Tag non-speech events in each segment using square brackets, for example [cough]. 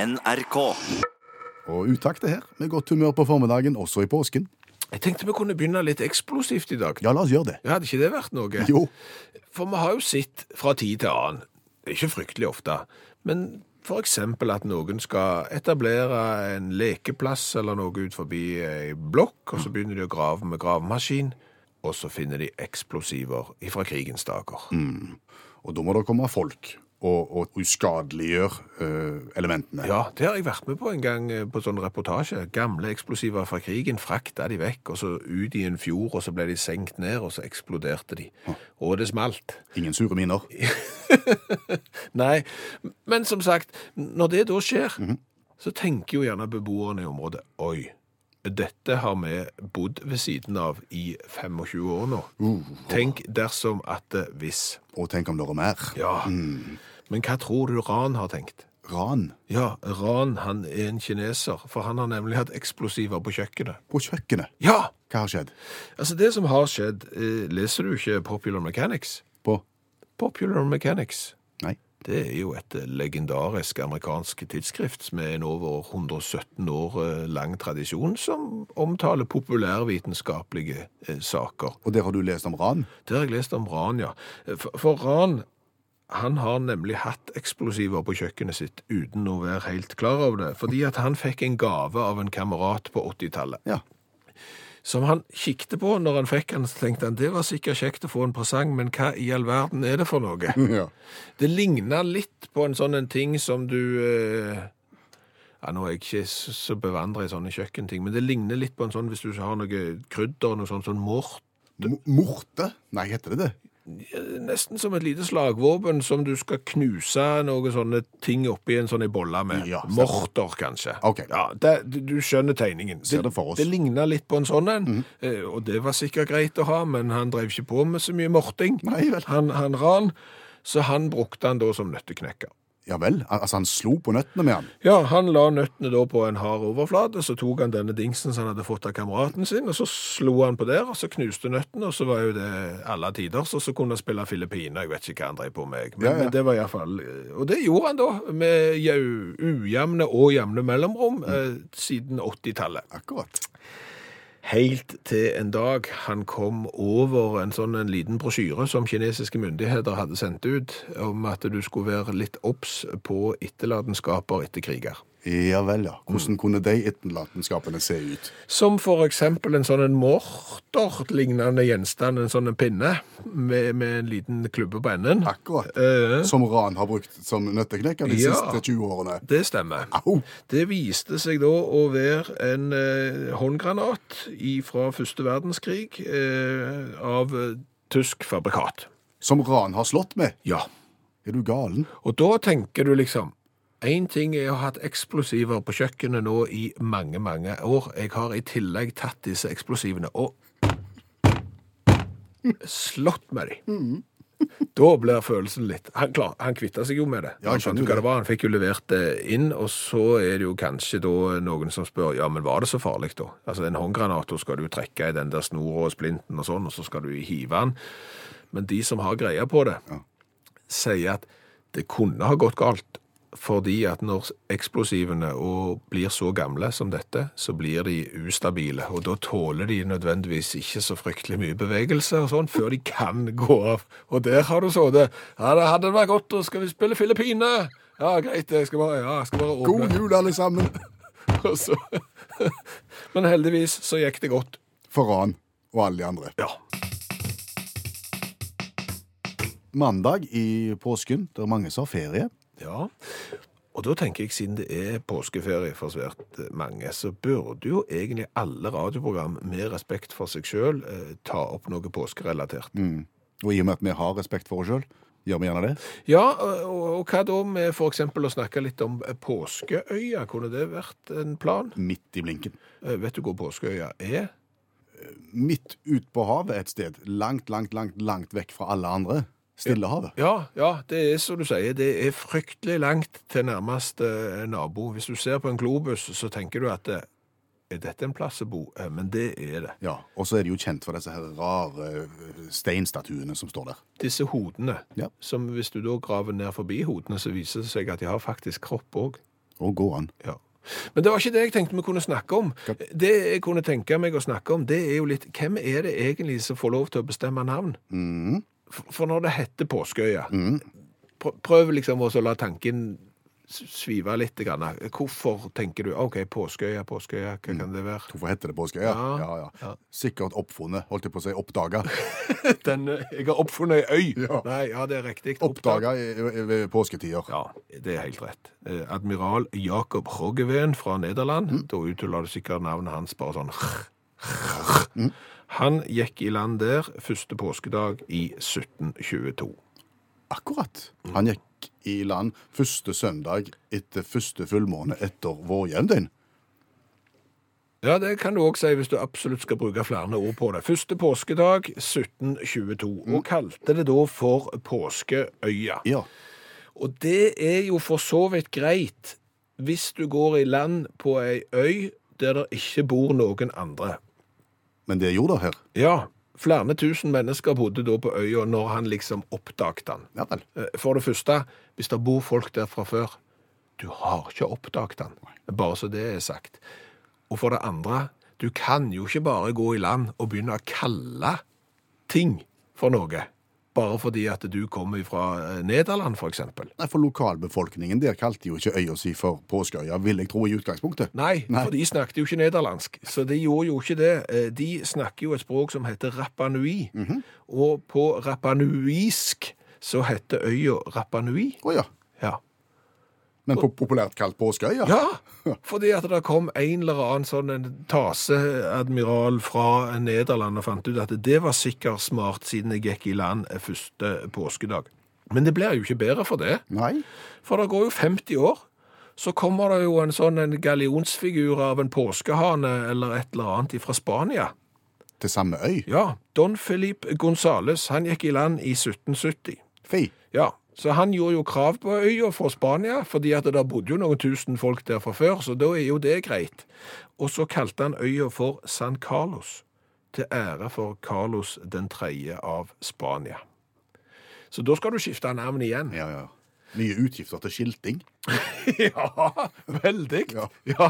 NRK. Og utakt det her, med godt humør på formiddagen, også i påsken. Jeg tenkte vi kunne begynne litt eksplosivt i dag. Ja, la oss gjøre det. Hadde ikke det vært noe? Jo. For vi har jo sett fra tid til annen, ikke fryktelig ofte, men for eksempel at noen skal etablere en lekeplass eller noe ut forbi ei blokk, og så begynner de å grave med gravemaskin, og så finner de eksplosiver fra krigens dager. Og da må det komme folk og, og uskadeliggjøre eh, elementene. Ja, det har jeg vært med på en gang eh, på sånn reportasje. Gamle eksplosiver fra krigen frakta de vekk, og så ut i en fjord, og så ble de senkt ned, og så eksploderte de. Og det smalt. Ingen sure minner. Nei, men som sagt, når det da skjer, så tenker jo gjerne beboerne i området Oi, dette har vi bodd ved siden av i 25 år nå. Tenk dersom at det hvis Og tenk om det er mer. Ja. Men hva tror du Ran har tenkt? Ran Ja, Ran han er en kineser, for han har nemlig hatt eksplosiver på kjøkkenet. på kjøkkenet. Ja! Hva har skjedd? Altså, det som har skjedd eh, Leser du ikke Popular Mechanics? På Popular Mechanics. Nei. Det er jo et legendarisk amerikansk tidsskrift med en over 117 år eh, lang tradisjon som omtaler populærvitenskapelige eh, saker. Og der har du lest om ran? Der har jeg lest om Ran, ja. For, for Ran han har nemlig hatt eksplosiver på kjøkkenet sitt uten å være helt klar over det, fordi at han fikk en gave av en kamerat på 80-tallet Ja. som han kikte på når han fikk den, så tenkte han det var sikkert kjekt å få en presang, men hva i all verden er det for noe? Ja. Det ligna litt på en sånn en ting som du eh, ja, Nå er jeg ikke så så bevandret i sånne kjøkkenting, men det ligner litt på en sånn hvis du har noe krydder, noe sånt sånn mort. M- Morte? Nei, heter det det? Nesten som et lite slagvåpen som du skal knuse noen sånne ting oppi en sånn ei bolle med. Ja, stemmer. Morter, kanskje. Ok. Ja, det, du du skjønner tegningen. Ser det for oss. Mhm. Det ligna litt på en sånn en, eh, og det var sikkert greit å ha, men han drev ikke på med så mye morting. Nei vel. Han, han ran, så han brukte han da som nøtteknekker. Ja vel. Al- Altså, han slo på nøttene med han. Ja, han la nøttene da på en hard overflate, så tok han denne dingsen som han hadde fått av kameraten sin, og så slo han på der, og så knuste nøttene, og så var jo det alle tider, så så kunne han spille filippiner, jeg vet ikke hva han drev på med, jeg. men, Ja, ja. men det var i hvert fall, eh, og det gjorde han da, med jau- ujamne og jamne Mm. mellomrom, eh, siden 80-tallet. Akkurat. Helt til en dag han kom over en sånn en liten brosjyre som kinesiske myndigheter hadde sendt ut, om at du skulle være litt obs på etterlatenskaper etter kriger. Ja vel, ja. Hvordan kunne de etterlatenskapene se ut? Som for eksempel en sånn en morter-lignende gjenstand, en sånn en pinne med, med en liten klubbe på enden. Akkurat. Eh. Som ran har brukt som nøtteknekker de Ja. siste 20 årene. Det stemmer. Au! Det viste seg da å være en eh, håndgranat fra første verdenskrig eh, av eh, tysk fabrikat. Som ran har slått med. Ja. Er du galen? Og da tenker du liksom Én ting er å ha hatt eksplosiver på kjøkkenet nå i mange, mange år. Jeg har i tillegg tatt disse eksplosivene og slått med dem. Da blir følelsen litt Han, klar, han kvitta seg jo med det. Ja, jeg han skjønner skjønte jo det. jo hva det var. Han fikk jo levert det inn, og så er det jo kanskje da noen som spør ja, men var det så farlig, da? Altså, En håndgranat da skal du trekke i den der snora og splinten og sånn, og så skal du hive den. Men de som har greia på det, sier at det kunne ha gått galt, fordi at når eksplosivene og blir så gamle som dette, så blir de ustabile, og da tåler de nødvendigvis ikke så fryktelig mye bevegelse og sånn, før de kan gå av. Og der har du så det. Ja, det hadde vært godt, og skal vi spille Filippine? Ja, greit, jeg skal bare, ja, jeg skal bare God åpne. [laughs] jul, alle sammen! Og så- Men heldigvis så gikk det godt. For ran og alle de andre. Ja. Mandag i påsken, der mange som har ferie. Ja, og da tenker jeg, siden det er påskeferie for svært eh, mange, så burde jo egentlig alle radioprogram med respekt for seg sjøl eh, ta opp noe påskerelatert. Og i og med at vi har respekt for oss sjøl, gjør vi gjerne det. Ja, og, og hva da med f.eks. å snakke litt om eh, Påskeøya? Kunne det vært en plan? Midt i blinken. Eh, Vet du hvor Påskeøya er? Midt ut på havet et sted. Langt, langt, langt, langt vekk fra alle andre. Stillehavet. Ja, ja, det er som du sier, det er fryktelig langt til nærmeste eh, nabo. Hvis du ser på en globus, så tenker du at eh, er dette en plass å bo? Eh, Men det er det. Ja, Og så er de jo kjent for disse her rare eh, steinstatuene som står der. disse hodene, Ja. som hvis du da graver ned forbi hodene, så viser det seg at de har faktisk kropp òg. Å gå an. Ja. Men det var ikke det jeg tenkte vi kunne snakke om. Det jeg kunne tenke meg å snakke om, det er jo litt Hvem er det egentlig som får lov til å bestemme navn? Mm. For for når det heter Påskeøya pr- Prøv liksom også å la tanken s- svive litt. Grann. Hvorfor tenker du OK, Påskeøya, Påskeøya, hva kan det være? Hvorfor heter det påskeøya? Ja, Ja, ja. Sikkert oppfunnet, holdt jeg på å si. Oppdaga. [laughs] [laughs] Den, eh, jeg har oppfunnet ei øy! Ja. Nei, ja, det er riktig. Oppdaga ved påsketider. Ja, det er helt rett. Eh, Admiral Jacob Roggeveen fra Nederland, da uttaler du sikkert navnet hans bare sånn Han gikk i land der første påskedag i 1722. Akkurat. Han gikk i land første søndag etter første fullmåne etter vårjevndøgn. Ja, det kan du òg si hvis du absolutt skal bruke flere ord på det. Første påskedag 1722, og kalte det da for Påskeøya. Ja. Og det er jo for så vidt greit hvis du går i land på ei øy der det ikke bor noen andre. Men det gjorde det her. Ja, flere tusen mennesker bodde da på øya når han liksom oppdaget den. Ja vel. Eh, For det første, hvis det bor folk der fra før, du har ikke oppdaget den. Bare så det er sagt. Og for det andre, du kan jo ikke bare gå i land og begynne å kalle ting for noe. Bare fordi at du kommer fra eh, Nederland, for eksempel. Nei, for lokalbefolkningen der kalte jo ikke øya si for påskeøya, vil jeg tro, i utgangspunktet. Nei, Nei. for de snakket jo ikke nederlandsk, så de gjorde jo ikke det. Eh, De snakker jo et språk som heter Rapanui, og på rapanuisk så heter øya Rapanui. Å ja. Ja. Men po- populært kalt påskeøya? ja, fordi at det kom en eller annen sånn en taseadmiral fra Nederland og fant ut at det var sikkert smart siden jeg gikk i land eh, første påskedag. Men det blir jo ikke bedre for det. Nei. For det går jo 50 år, så kommer det jo en sånn en gallionsfigur av en påskehane eller et eller annet fra Spania. Til samme øy? Ja, Don Felipe Gonzales, han gikk i land i 1770. Fy. Ja, så han gjorde jo krav på øya fra Spania, fordi at det der bodde jo noen tusen folk der fra før, så da er jo det greit. Og så kalte han øya for San Carlos, til ære for Carlos den tredje av Spania. Så da skal du skifte navn igjen. Ja, ja. Mye utgifter til skilting. [laughs] Ja, veldig. Ja. Ja.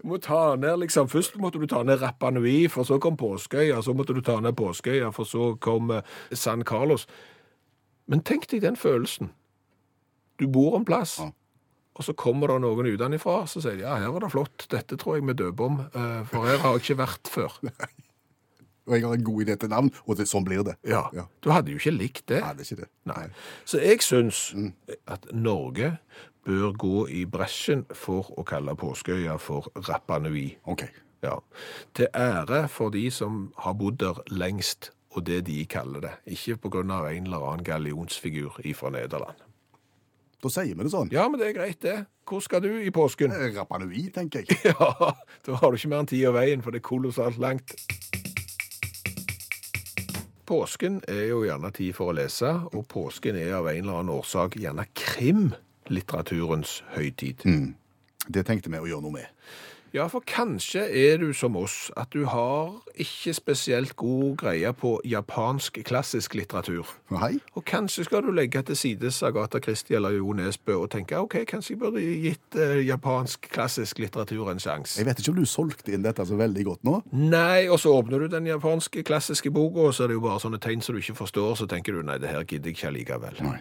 Du må ta ned liksom, Først måtte du ta ned Rapa Nui, for så kom Påskeøya. Så måtte du ta ned Påskeøya, for så kom eh, San Carlos. Men tenk deg den følelsen. Du bor en plass, Ja. og så kommer det noen utenfra så sier de, ja, her var det flott, dette tror jeg vi døper om, eh, for her har jeg ikke vært før. Og jeg har en god idé til navn, og det, sånn blir det. Ja. Ja. Du hadde jo ikke likt det. Nei, det er ikke det. Nei. Så jeg syns at Norge bør gå i bresjen for å kalle Påskeøya for Rapa Nui. OK. Ja. Til ære for de som har bodd der lengst, og det de kaller det. Ikke på grunn av en eller annen gallionsfigur ifra Nederland. Da sier vi det sånn. Ja, men det er greit, det. Hvor skal du i påsken? Eh, Rapa Nui, tenker jeg. [laughs] Ja, da har du ikke mer enn tid av veien, for det er kolossalt langt. Påsken er jo gjerne tid for å lese, og påsken er av en eller annen årsak gjerne krimlitteraturens høytid. Det tenkte vi å gjøre noe med. Ja, for kanskje er du som oss, at du har ikke spesielt god greie på japansk klassisk litteratur. Nei? Og kanskje skal du legge til side Agatha Christie eller Jo Nesbø og tenke ok, kanskje jeg burde gitt eh, japansk klassisk litteratur en sjanse. Jeg vet ikke om du solgte inn dette så veldig godt nå. Nei, og så åpner du den japanske klassiske boka, og så er det jo bare sånne tegn som du ikke forstår, så tenker du nei, det her gidder jeg ikke likevel. Nei.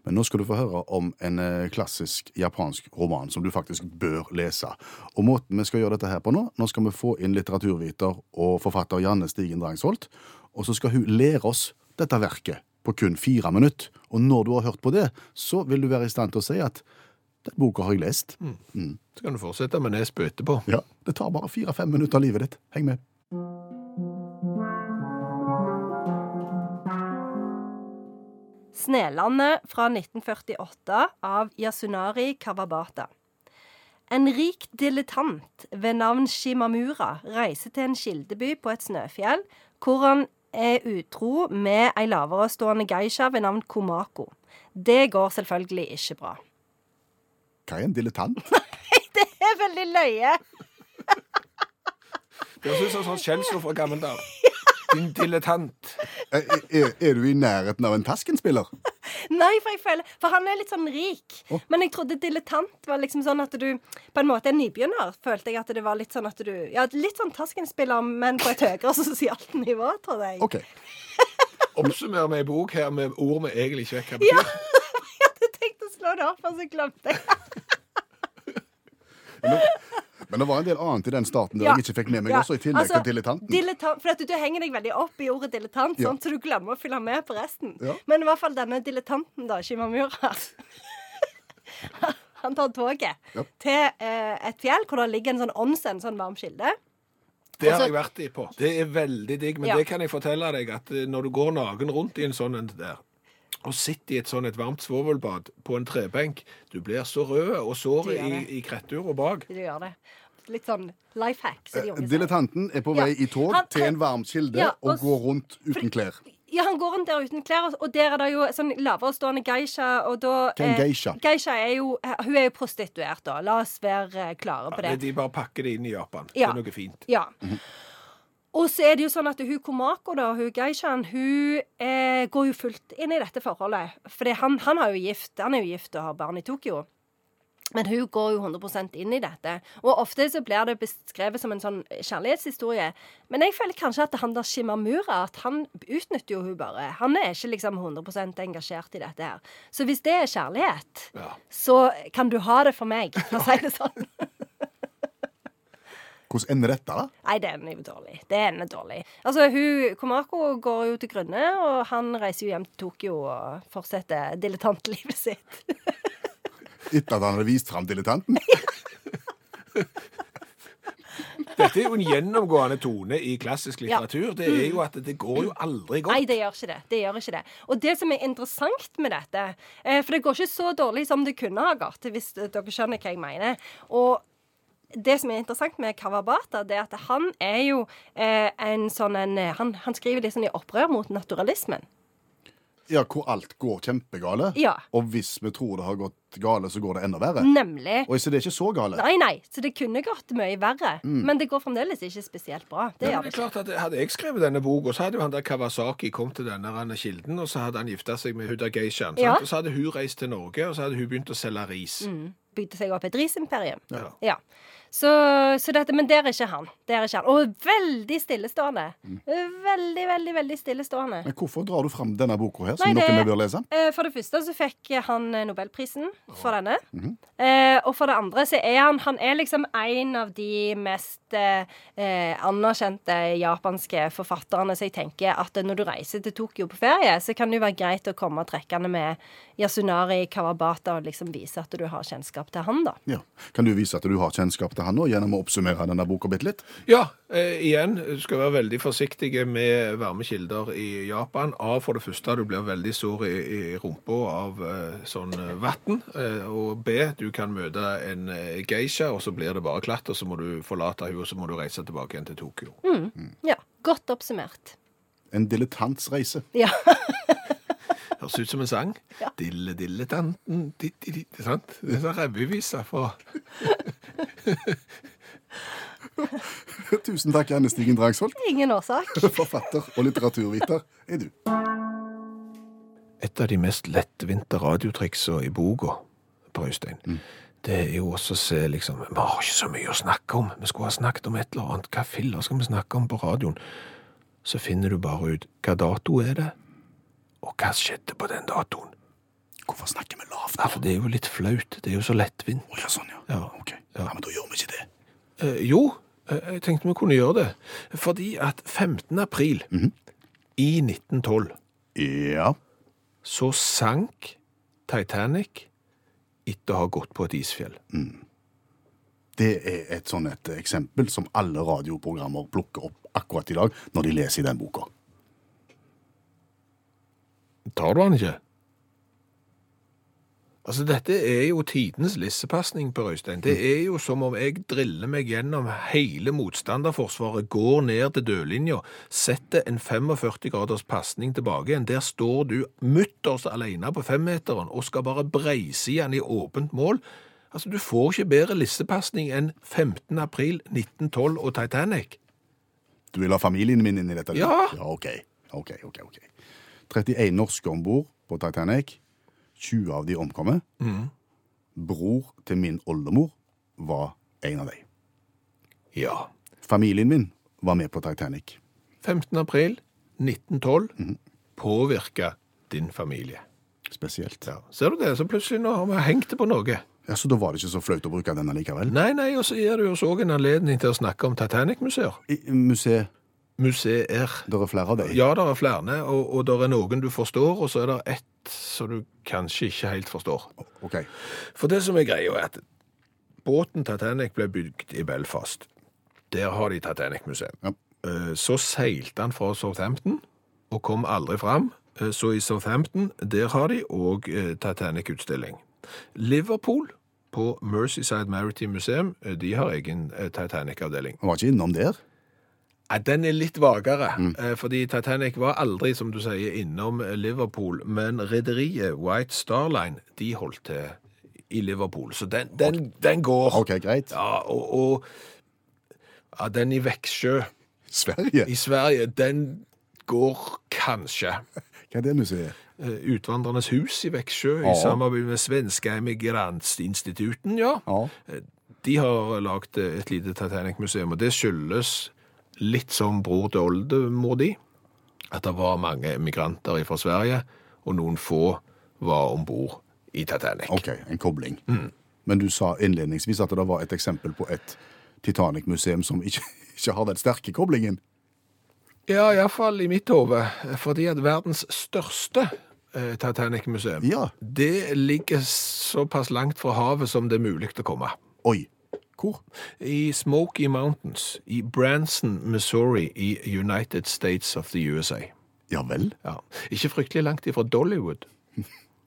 Men nå skal du få høre om en eh, klassisk japansk roman som du faktisk bør lese. Og måten vi skal gjøre dette her på nå, nå skal vi få inn litteraturviter og forfatter Janne Stigen Drangsholt, og så skal hun lære oss dette verket på kun fire minutter. Og når du har hørt på det, så vil du være i stand til å si at den boka har jeg lest. Så kan du fortsette med Nesbø etterpå. Ja, Det tar bare fire-fem minutter av livet ditt. Heng med. Snelandet fra 1948 av Yasunari Kawabata. En rik dilettant ved navn Shimamura reiser til en kildeby på et snøfjell, hvor han er utro med ei laverestående geisha ved navn Komako. Det går selvfølgelig ikke bra. Hva er en dilettant? [laughs] Det er veldig løye! Det synes jeg er sånn skjellsord fra gammel dag. Din dilettant. Eh, Er, er, er du i nærheten av en Tasken-spiller? Nei, for jeg føler For han er litt sånn rik. Å. Men jeg trodde dilettant var liksom sånn at du På en måte en nybegynner følte jeg at det var litt sånn at du Ja, litt sånn Tasken-spiller, men på et høyere sosialt nivå, tror jeg. [laughs] OK. Oppsummerer vi ei bok her med ord vi egentlig ikke vet hva betyr. [laughs] Jeg hadde tenkt å slå det opp, og så glemte jeg. Men det var en del annet i den starten der Ja. jeg ikke fikk med meg Ja, også, i tillegg altså, til dilettanten. dilettant- for at du henger deg veldig opp i ordet dilettant, Ja. sånn, så du glemmer å fylle med på resten. Ja. Men i hvert fall denne dilettanten, da, Shimamura. [laughs] Han tar toget Ja. til eh, et fjell hvor det ligger en sånn onsen, en sånn varm kilde. Det har Altså- jeg vært i på. Det er veldig digg, men Ja. det kan jeg fortelle deg at eh, når du går naken rundt i en sånn en der, og sitter i et sånn et varmt svovelbad på en trebenk, du blir så rød og Du såret gjør i, det. i krettur og bak. Du gjør det. Litt sånn life hack. som de unge sier. Eh, Dilettanten er på Ja. vei i tog Han- til en varm kilde Ja, og, og s- går rundt uten klær. Ja, han går rundt der uten klær, og- og der er det jo sånn laverestående geisha, og da eh, Hva er en geisha? geisha er jo eh, Hun er jo prostituert, da. La oss være eh, klare på det. De bare pakker det inn i Japan. Ja. Det er noe fint. Ja. Og så er det jo sånn at hun Komako, da, hun geishaen, hun eh, går jo fullt inn i dette forholdet. For han, han, har jo gift, han er jo gift og har barn i Tokyo. Men hun går jo 100 inn i dette. Og ofte så blir det beskrevet som en sånn kjærlighetshistorie. Men jeg føler kanskje at han der Shimamura, at han utnytter jo hun bare. Han er ikke liksom 100 engasjert i dette her. Så hvis det er kjærlighet, Ja. så kan du ha det for meg, for å si det sånn. Hvordan ender dette? da? Nei, det ender jo dårlig. Det ender dårlig. Altså, hun, Komako går jo til grunne, og han reiser jo hjem til Tokyo og fortsetter dilettantlivet sitt. Etter at han hadde vist fram dilettanten? Dette er jo en gjennomgående tone i klassisk litteratur. Det er jo at det går jo aldri Nei, godt. det gjør ikke det. Det gjør ikke det. Og det som er interessant med dette eh, For det går ikke så dårlig som det kunne ha gått, hvis eh, dere skjønner hva jeg mener. Og det som er interessant med Kawabata, det er at han er jo eh, en sånn en eh, han, han skriver litt sånn i opprør mot naturalismen. Ja, hvor alt går kjempegale. Ja. Og hvis vi tror det har gått gale, så går det enda verre. Nemlig Oi, så det er ikke så gale. Nei, nei. Så det kunne gått mye verre. Men det går fremdeles ikke spesielt bra. Det Mm. Ja, men det er gjør det ikke. klart at Hadde jeg skrevet denne boka, så hadde jo han der Kawasaki kommet til denne rande kilden, og så hadde han gifta seg med Huda Geishan. sant? Ja. Mm. Og så hadde hun reist til Norge, og så hadde hun begynt å selge ris. Bygde seg opp et risimperium. Ja. Ja. Så, så dette, men der er ikke han. Der er ikke han. Og veldig stillestående. Veldig, veldig, veldig stillestående. Men hvorfor drar du fram denne boka her, som Nei, det- noen bør lese? Eh, For det første så fikk han eh, Nobelprisen for denne. Eh, Og for det andre så er han Han er liksom en av de mest eh, eh, anerkjente japanske forfatterne, så jeg tenker at når du reiser til Tokyo på ferie, så kan det jo være greit å komme trekkende med Yasunari Kawabata og liksom vise at du har kjennskap til han, da. Ja. Kan du vise at du har kjennskap til han nå, gjennom å oppsummere denne boka bitte litt? Ja, eh, igjen, du skal være veldig forsiktige med varme kilder i Japan. Av for det første, du blir veldig sår i, i rumpa av eh, sånn eh, vann. Eh, og B, du kan møte en eh, geisha, og så blir det bare klatt, og så må du forlate henne, og så må du reise tilbake igjen til Tokyo. Ja. Godt oppsummert. En dilettants reise. Ja. Høres ut som en sang. Dille, dille, tanten, di, di, di, Det er sant? Det er sånn revyvise fra [laughs] Tusen takk, Anne Stigen Drangsvold. [laughs] Ingen årsak. [laughs] Forfatter og litteraturviter er du. Et av de mest lettvinte radiotriksene i boka, Per Øystein, det er jo også å se liksom Vi har ikke så mye å snakke om. Vi skulle ha snakket om et eller annet. Hva filler skal vi snakke om på radioen? Så finner du bare ut hva dato er det, og hva skjedde på den datoen. Hvorfor snakker vi lavt? Ja, for det er jo litt flaut. Det er jo så lettvint. Å ja, sånn, ja. Ja. Ok. Ja. Ja, men da gjør vi ikke det. Eh, jo, eh, jeg tenkte vi kunne gjøre det. Fordi at 15. april i 1912 Ja. så sank Titanic etter å ha gått på et isfjell. Det er et sånn et eksempel som alle radioprogrammer plukker opp akkurat i dag når de leser i den boka. Tar du han ikke? Altså, dette er jo tidens lissepasning, Per Øystein. Det er jo som om jeg driller meg gjennom hele motstanderforsvaret, går ned til dødlinja, setter en 45 graders pasning tilbake igjen. Der står du mutters alene på femmeteren og skal bare breise igjen i åpent mål. Altså, du får ikke bedre lissepasning enn 15. april 1912 og Titanic. Du vil ha familien min inn i dette? eller? Ja. ja ok. ok, ok, ok. 31 norske om bord på Titanic. 20 av de omkommet. Bror til min oldemor var en av dem. Ja. Familien min var med på Titanic. 15. april 1912 påvirka din familie. Spesielt. Ja. Ser du det? Så plutselig nå har vi hengt det på noe. Ja, Så da var det ikke så flaut å bruke denne likevel? Nei, nei, og så gir du oss òg en anledning til å snakke om Titanic-museer. I museet, Museer. det er flere av dem. Ja, det er flere, og, og det er noen du forstår, og så er det ett som du kanskje ikke helt forstår. Ok. For det som er greia, er at båten Titanic ble bygd i Belfast. Der har de Titanic-museum. Ja. Eh, Så seilte han fra Southampton og kom aldri fram. Eh, Så i Southampton, der har de òg Titanic-utstilling. Liverpool, på Merseyside Maritime Museum, eh, de har egen eh, Titanic-avdeling. Han var ikke innom der? Ja, Den er litt vagere, Mm. eh, fordi Titanic var aldri, som du sier, innom Liverpool, men rederiet White Star Line, de holdt til i Liverpool, så den, den, den går. Ok, greit. Ja, og, og ja, den i Veksjø Sverige? i Sverige, den går kanskje. Hva er det museet? Eh, Utvandrernes hus i Veksjø, Ja. i samarbeid med svenske emigrantinstituten, ja. Ja. De har lagt et lite Titanic-museum, og det skyldes litt som bror til oldemor di, at det var mange emigranter fra Sverige, og noen få var ombord i Titanic. Ok, en kobling. Men du sa innledningsvis at det var et eksempel på et Titanic-museum som ikke, [laughs] ikke har den sterke koblingen. Ja, iallfall i mitt hode, fordi at verdens største eh, Titanic-museum, Ja. det ligger såpass langt fra havet som det er mulig å komme. Oi. Hvor? I Smoky Mountains, i Branson, Missouri, i United States of the USA. Ja vel? Ja. Ikke fryktelig langt ifra Dollywood.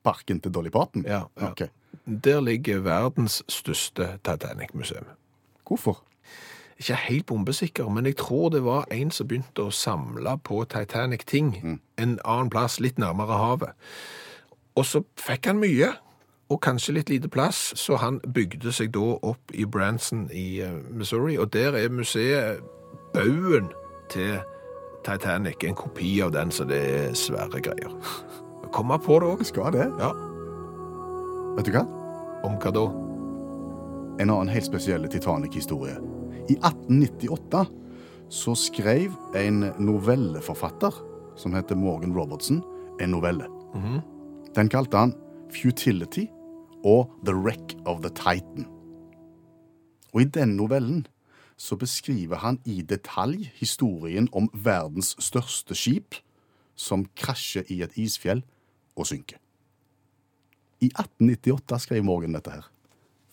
Parken til Dolly Parton? Ja, ja. Ok. Der ligger verdens største Titanic-museum. Hvorfor? Ikke helt bombesikker, men jeg tror det var en som begynte å samle på Titanic-ting en annen plass, litt nærmere havet. Og så fikk han mye, og kanskje litt lite plass, så han bygde seg da opp i Branson i eh, Missouri, og der er museet baugen til Titanic, en kopi av den, så det er svære greier. Kommer på det òg. Skal det? Ja, Vet du hva? om hva da? en annen helt spesiell Titanic-historie. I 1898 så skrev en novelleforfatter som heter Morgan Robertson, en novelle. Den kalte han Futility og The Wreck of the Titan. Og i den novellen så beskriver han i detalj historien om verdens største skip som krasjer i et isfjell og synker. I 1898 skrev Morgan dette her.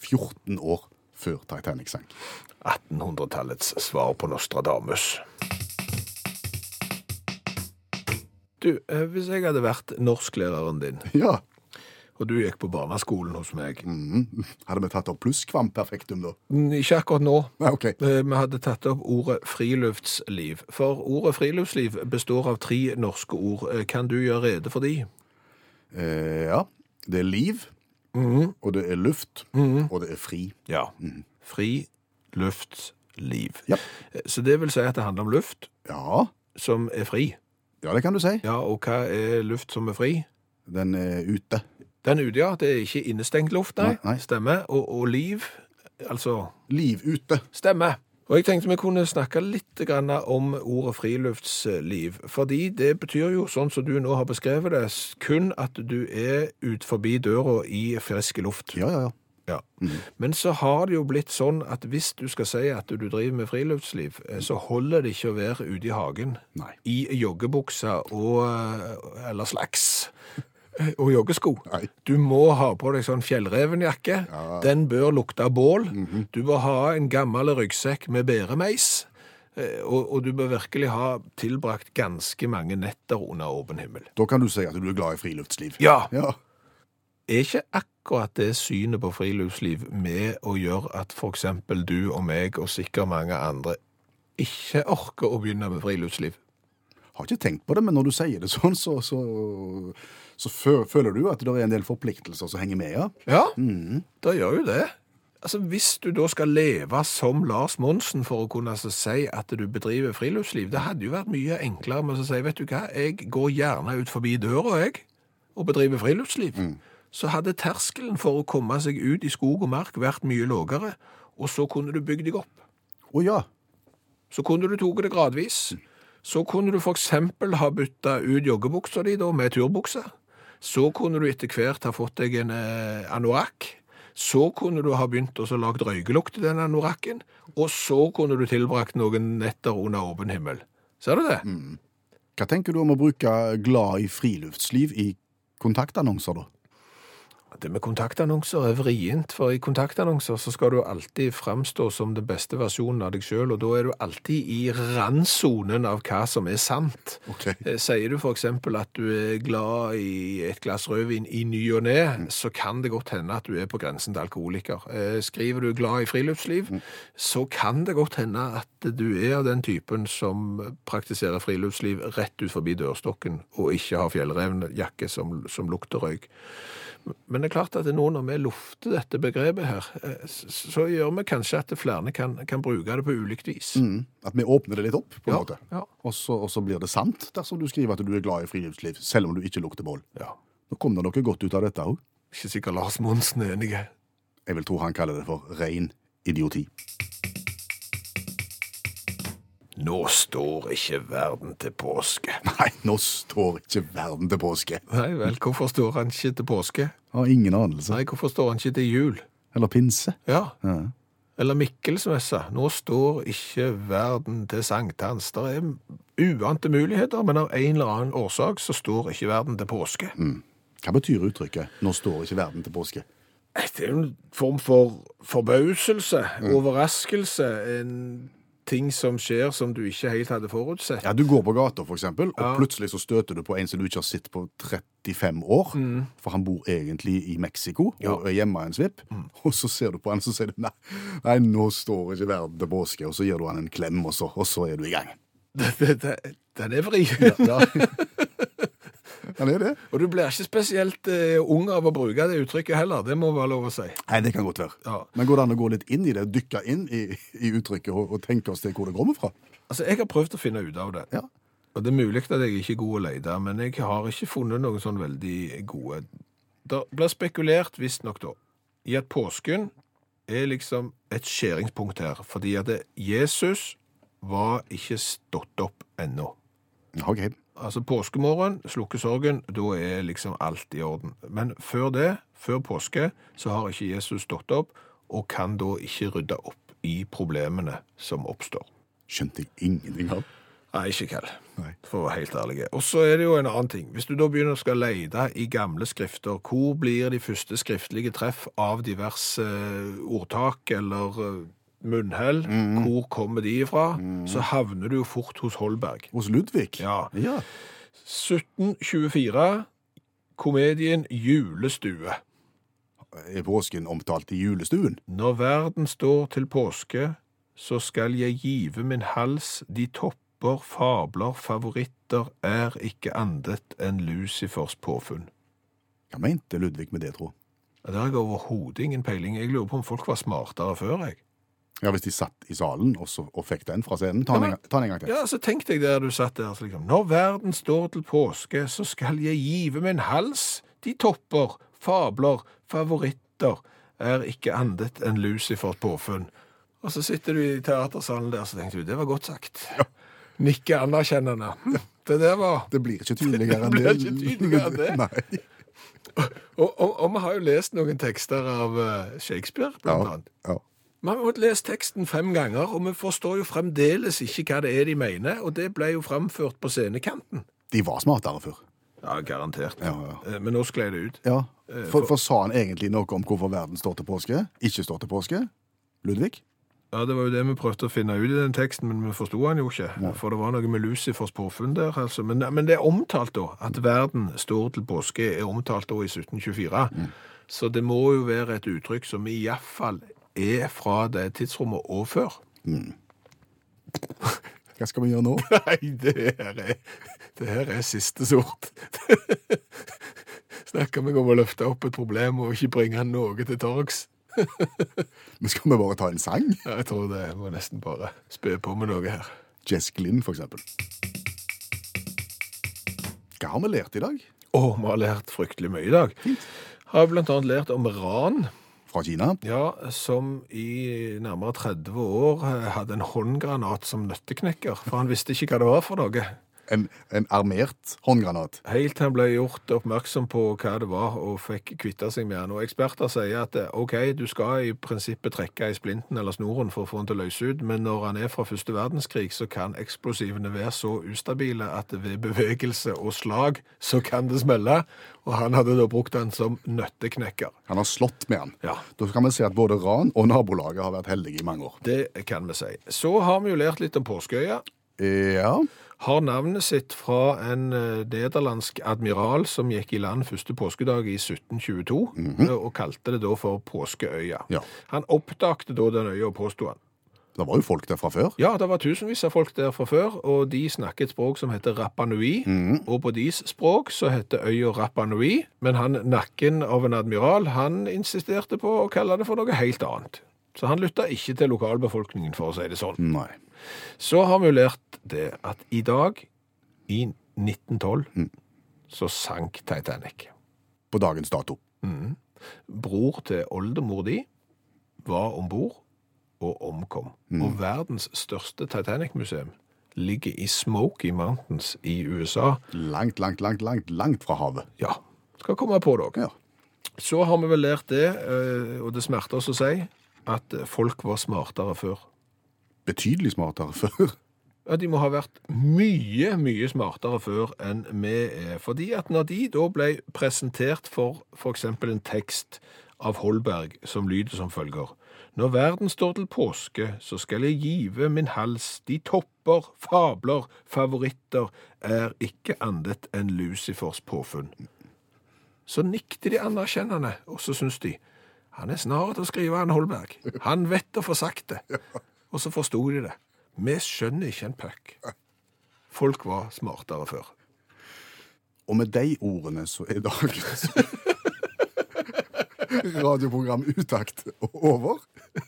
14 år før Titanic sank. [laughs] 1800-tallets svar på Nostradamus. Du, eh, hvis jeg hadde vært norsklæreren din, Ja, og du gikk på barneskolen hos meg Mm. Hadde vi tatt opp plusskvam perfektum, da? Mm, Ikke akkurat nå. Nei, ok. Eh, Vi hadde tatt opp ordet friluftsliv. For ordet friluftsliv består av tre norske ord. Eh, Kan du gjøre rede for de? Eh, ja. Det er liv, og det er luft, og det er fri. Ja. Friluftsliv. Ja. Eh, Så det vil si at det handler om luft Ja, som er fri. ja det kan du si. Ja, og hva er luft som er fri? Den er ute. Den ute, ja. Det er ikke innestengt luft, nei. Nei, nei. Stemmer. Og, og liv, altså Liv ute. Stemmer. Og jeg tenkte vi kunne snakke litt grann om ordet friluftsliv. Fordi det betyr jo, sånn som du nå har beskrevet det, s- kun at du er ut forbi døra i frisk luft. Ja, ja, ja. Ja. Men så har det jo blitt sånn at hvis du skal si at du driver med friluftsliv, eh, så holder det ikke å være ute i hagen Nei. i joggebuksa og eh, eller slags. Og joggesko. Nei. Du må ha på deg sånn fjellrevenjakke. Den bør lukte av bål. Mm. Mm-hmm. Du bør ha en gammel ryggsekk med bæremeis. Eh, Og, og du bør virkelig ha tilbrakt ganske mange netter under åpen himmel. Da kan du si at du er glad i friluftsliv. Ja! Ja, Er ikke akkurat det synet på friluftsliv med å gjøre at for eksempel du og meg, og sikkert mange andre, ikke orker å begynne med friluftsliv? Har ikke tenkt på det, men når du sier det sånn, så, så, så fø- føler du at det er en del forpliktelser som henger med, ja. Ja, da gjør jo det. Altså, Hvis du da skal leve som Lars Monsen for å kunne altså, si at du bedriver friluftsliv, det hadde jo vært mye enklere med å si vet du hva, jeg går gjerne ut forbi døra jeg, og bedriver friluftsliv. så hadde terskelen for å komme seg ut i skog og mark vært mye lågere, og så kunne du bygge deg opp. Å ja. Så kunne du tatt det gradvis. Så kunne du for eksempel ha bytta ut joggebuksa di da med turbukse. Så kunne du etter hvert ha fått deg en eh, anorakk. Så kunne du ha begynt å så lage røykelukt i den anorakken. Og så kunne du tilbrakt noen netter under åpen himmel. Ser du det? Hva tenker du om å bruke glad i friluftsliv i kontaktannonser, da? Det med kontaktannonser er vrient, for i kontaktannonser så skal du alltid fremstå som den beste versjonen av deg sjøl, og da er du alltid i randsonen av hva som er sant. Ok. Eh, Sier du for eksempel at du er glad i et glass rødvin i ny og ne, så kan det godt hende at du er på grensen til alkoholiker. Eh, Skriver du glad i friluftsliv, så kan det godt hende at du er av den typen som praktiserer friluftsliv rett ut forbi dørstokken, og ikke har fjellrevnjakke som, som lukter røyk. Men det er klart at det nå når vi lufter dette begrepet her, eh, s- så gjør vi kanskje at flere kan, kan bruke det på ulikt vis. Mm. At vi åpner det litt opp, på en Ja, måte. ja. Og så, og så blir det sant dersom du skriver at du er glad i friluftsliv, selv om du ikke lukter bål. Ja. Nå kom det noe godt ut av dette òg. Ikke sikkert Lars Monsen er enig. Jeg vil tro han kaller det for ren idioti. [laughs] Nå står ikke verden til påske. Nei, nå står ikke verden til påske. Nei vel, hvorfor står han ikke til påske? Har ingen anelse. Nei, hvorfor står han ikke til jul? Eller pinse. Ja, Ja. eller Mikkelsmessa. Nå står ikke verden til sankthans. Det er uante muligheter, men av en eller annen årsak så står ikke verden til påske. Mm. Hva betyr uttrykket 'nå står ikke verden til påske'? Det er jo en form for forbauselse, Mm. overraskelse, en ting som skjer som du ikke helt hadde forutsett. Ja, Du går på gata, for eksempel, og plutselig så støter du på en som du ikke har sett på 35 år. Mm. For han bor egentlig i Mexico og er hjemme en svipp. Mm. Og så ser du på han, så sier du nei, nei, nå står ikke verden til påske. Og så gir du han en klem, og så, og så er du i gang. [laughs] Det- det- det- Den er vri. [laughs] Ja, det er det. Og du blir ikke spesielt eh, ung av å bruke det uttrykket heller, det må være lov å si. Nei, det kan godt være. Ja. Men går det an å gå litt inn i det, dykke inn i, i uttrykket og, og tenke oss til hvor det kommer fra? Altså, jeg har prøvd å finne ut av det. Ja. Og det er mulig at jeg ikke er god å lete, men jeg har ikke funnet noen sånn veldig gode. Det blir spekulert, visstnok da, i at påsken er liksom et skjæringspunkt her, fordi at det, Jesus var ikke stått opp ennå. Ok. Altså påskemorgen, slukke sorgen, da er liksom alt i orden. Men før det, før påske, så har ikke Jesus stått opp, og kan da ikke rydde opp i problemene som oppstår. Skjønte jeg ingenting av. Nei, ikke kall. Nei. For å være helt ærlig. Og så er det jo en annen ting. Hvis du da begynner å skal lete i gamle skrifter, hvor blir de første skriftlige treff av diverse eh, ordtak eller eh, munnhell? Hvor kommer de ifra? Så havner du jo fort hos Holberg. Hos Ludvig? Ja. ja. 1724, komedien Julestue. Er påsken omtalt i julestuen? Når verden står til påske, så skal jeg give min hals de topper, fabler, favoritter er ikke andet enn Lucifers påfunn. Hva mente Ludvig med det, tro? Ja, Der har jeg overhodet ingen peiling. Jeg lurer på om folk var smartere før, jeg. Ja, Hvis de satt i salen og, så, og fikk den fra scenen? Ta den en, gang- ta den en gang til. Ja, så tenk deg der du satt der, så liksom Når verden står til påske, så skal jeg give min hals de topper, fabler, favoritter er ikke andet enn Lucifers påfunn. Og så sitter du i teatersalen der, så tenker du, det var godt sagt. Nikke anerkjennende. Det der var Det blir ikke [laughs] tydeligere enn Det det. blir ikke tydeligere enn det. [laughs] Nei. Og, og, og vi har jo lest noen tekster av eh, Shakespeare, blant Ja. annet. Ja. Vi har måttet lese teksten fem ganger, og vi forstår jo fremdeles ikke hva det er de mener, og det ble jo fremført på scenekanten. De var smartere før. Ja, garantert. Ja, ja. Eh, Men nå sklei det ut. Ja. Eh, Eh, For, for sa han egentlig noe om hvorfor verden står til påske? Ikke står til påske? Ludvig? Ja, Det var jo det vi prøvde å finne ut i den teksten, men vi forsto han jo ikke. For det var noe med Lucifers påfunn der, altså. Men, men det er omtalt, da. At verden står til påske, er omtalt da i 1724. Så det må jo være et uttrykk som iallfall er fra det tidsrommet og før. Hva skal vi gjøre nå? [laughs] Nei, det her er, det her er siste sort. [laughs] Snakker meg om å løfte opp et problem og ikke bringe noe til torgs. Men Skal vi bare ta en sang? Ja, Jeg tror det må nesten bare spø på med noe her. Jess Glynn, for eksempel. Hva har vi lært i dag? Å, vi har lært fryktelig mye i dag. Har blant annet lært om ran, Fra Kina. ja, som i nærmere 30 år eh, hadde en håndgranat som nøtteknekker, for han visste ikke hva det var for noe. En, en armert håndgranat. Helt til han ble gjort oppmerksom på hva det var, og fikk kvitta seg med han. Og eksperter sier at eh, OK, du skal i prinsippet trekke i splinten eller snoren for å få han til å løse ut, men når han er fra første verdenskrig, så kan eksplosivene være så ustabile at ved bevegelse og slag så kan det smelle. Og han hadde da brukt den som nøtteknekker. Han har slått med han. Ja. Da kan vi se at både ran og nabolaget har vært heldige i mange år. Det kan vi si. Så har vi jo lært litt om påskeøya. Ja, har navnet sitt fra en eh, nederlandsk admiral som gikk i land første påskedag i 1722, eh, og kalte det da for Påskeøya. Ja. Han oppdagte da den øya, påsto han. det var jo folk der fra før. Ja, det var tusenvis av folk der fra før, og de snakket et språk som heter Rapa Nui, og på deres språk så heter øya Rapa Nui, men han, nakken av en admiral, han insisterte på å kalle det for noe helt annet. Så han lytta ikke til lokalbefolkningen, for å si det sånn. Nei. Så har vi jo lært det at i dag, i 1912, så sank Titanic. På dagens dato. Bror til oldemor di var om bord og omkom. Og verdens største Titanic-museum ligger i Smoky Mountains i USA. Langt, langt, langt, langt, langt fra havet. Ja, skal komme på det òg. Ja. Så har vi vel lært det, eh, og det smerter oss å si, at folk var smartere før. Betydelig smartere [laughs] før. Ja, de må ha vært mye, mye smartere før enn vi er. Fordi at når de da ble presentert for f.eks. en tekst av Holberg som lyder som følger Når verden står til påske, så skal jeg give min hals de topper, fabler, favoritter er ikke annet enn Lucifers påfunn. Så nikte de anerkjennende, og så syns de han er snar til å skrive, han Holberg. Han vet å få sagt det. Og så forsto de det. Vi skjønner ikke en puck. Folk var smartere før. Og med de ordene så er dagens [laughs] radioprogram Utakt over. [laughs]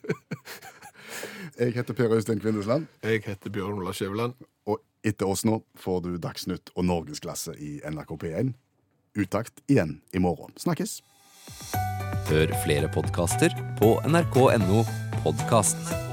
Jeg heter Per Øystein Kvindesland, Jeg heter Bjørn Ola Skjæveland. og etter oss nå får du Dagsnytt og Norgesklasse i NRK P1. Utakt igjen i morgen. Snakkes! Hør flere podkaster på nrk.no podkast.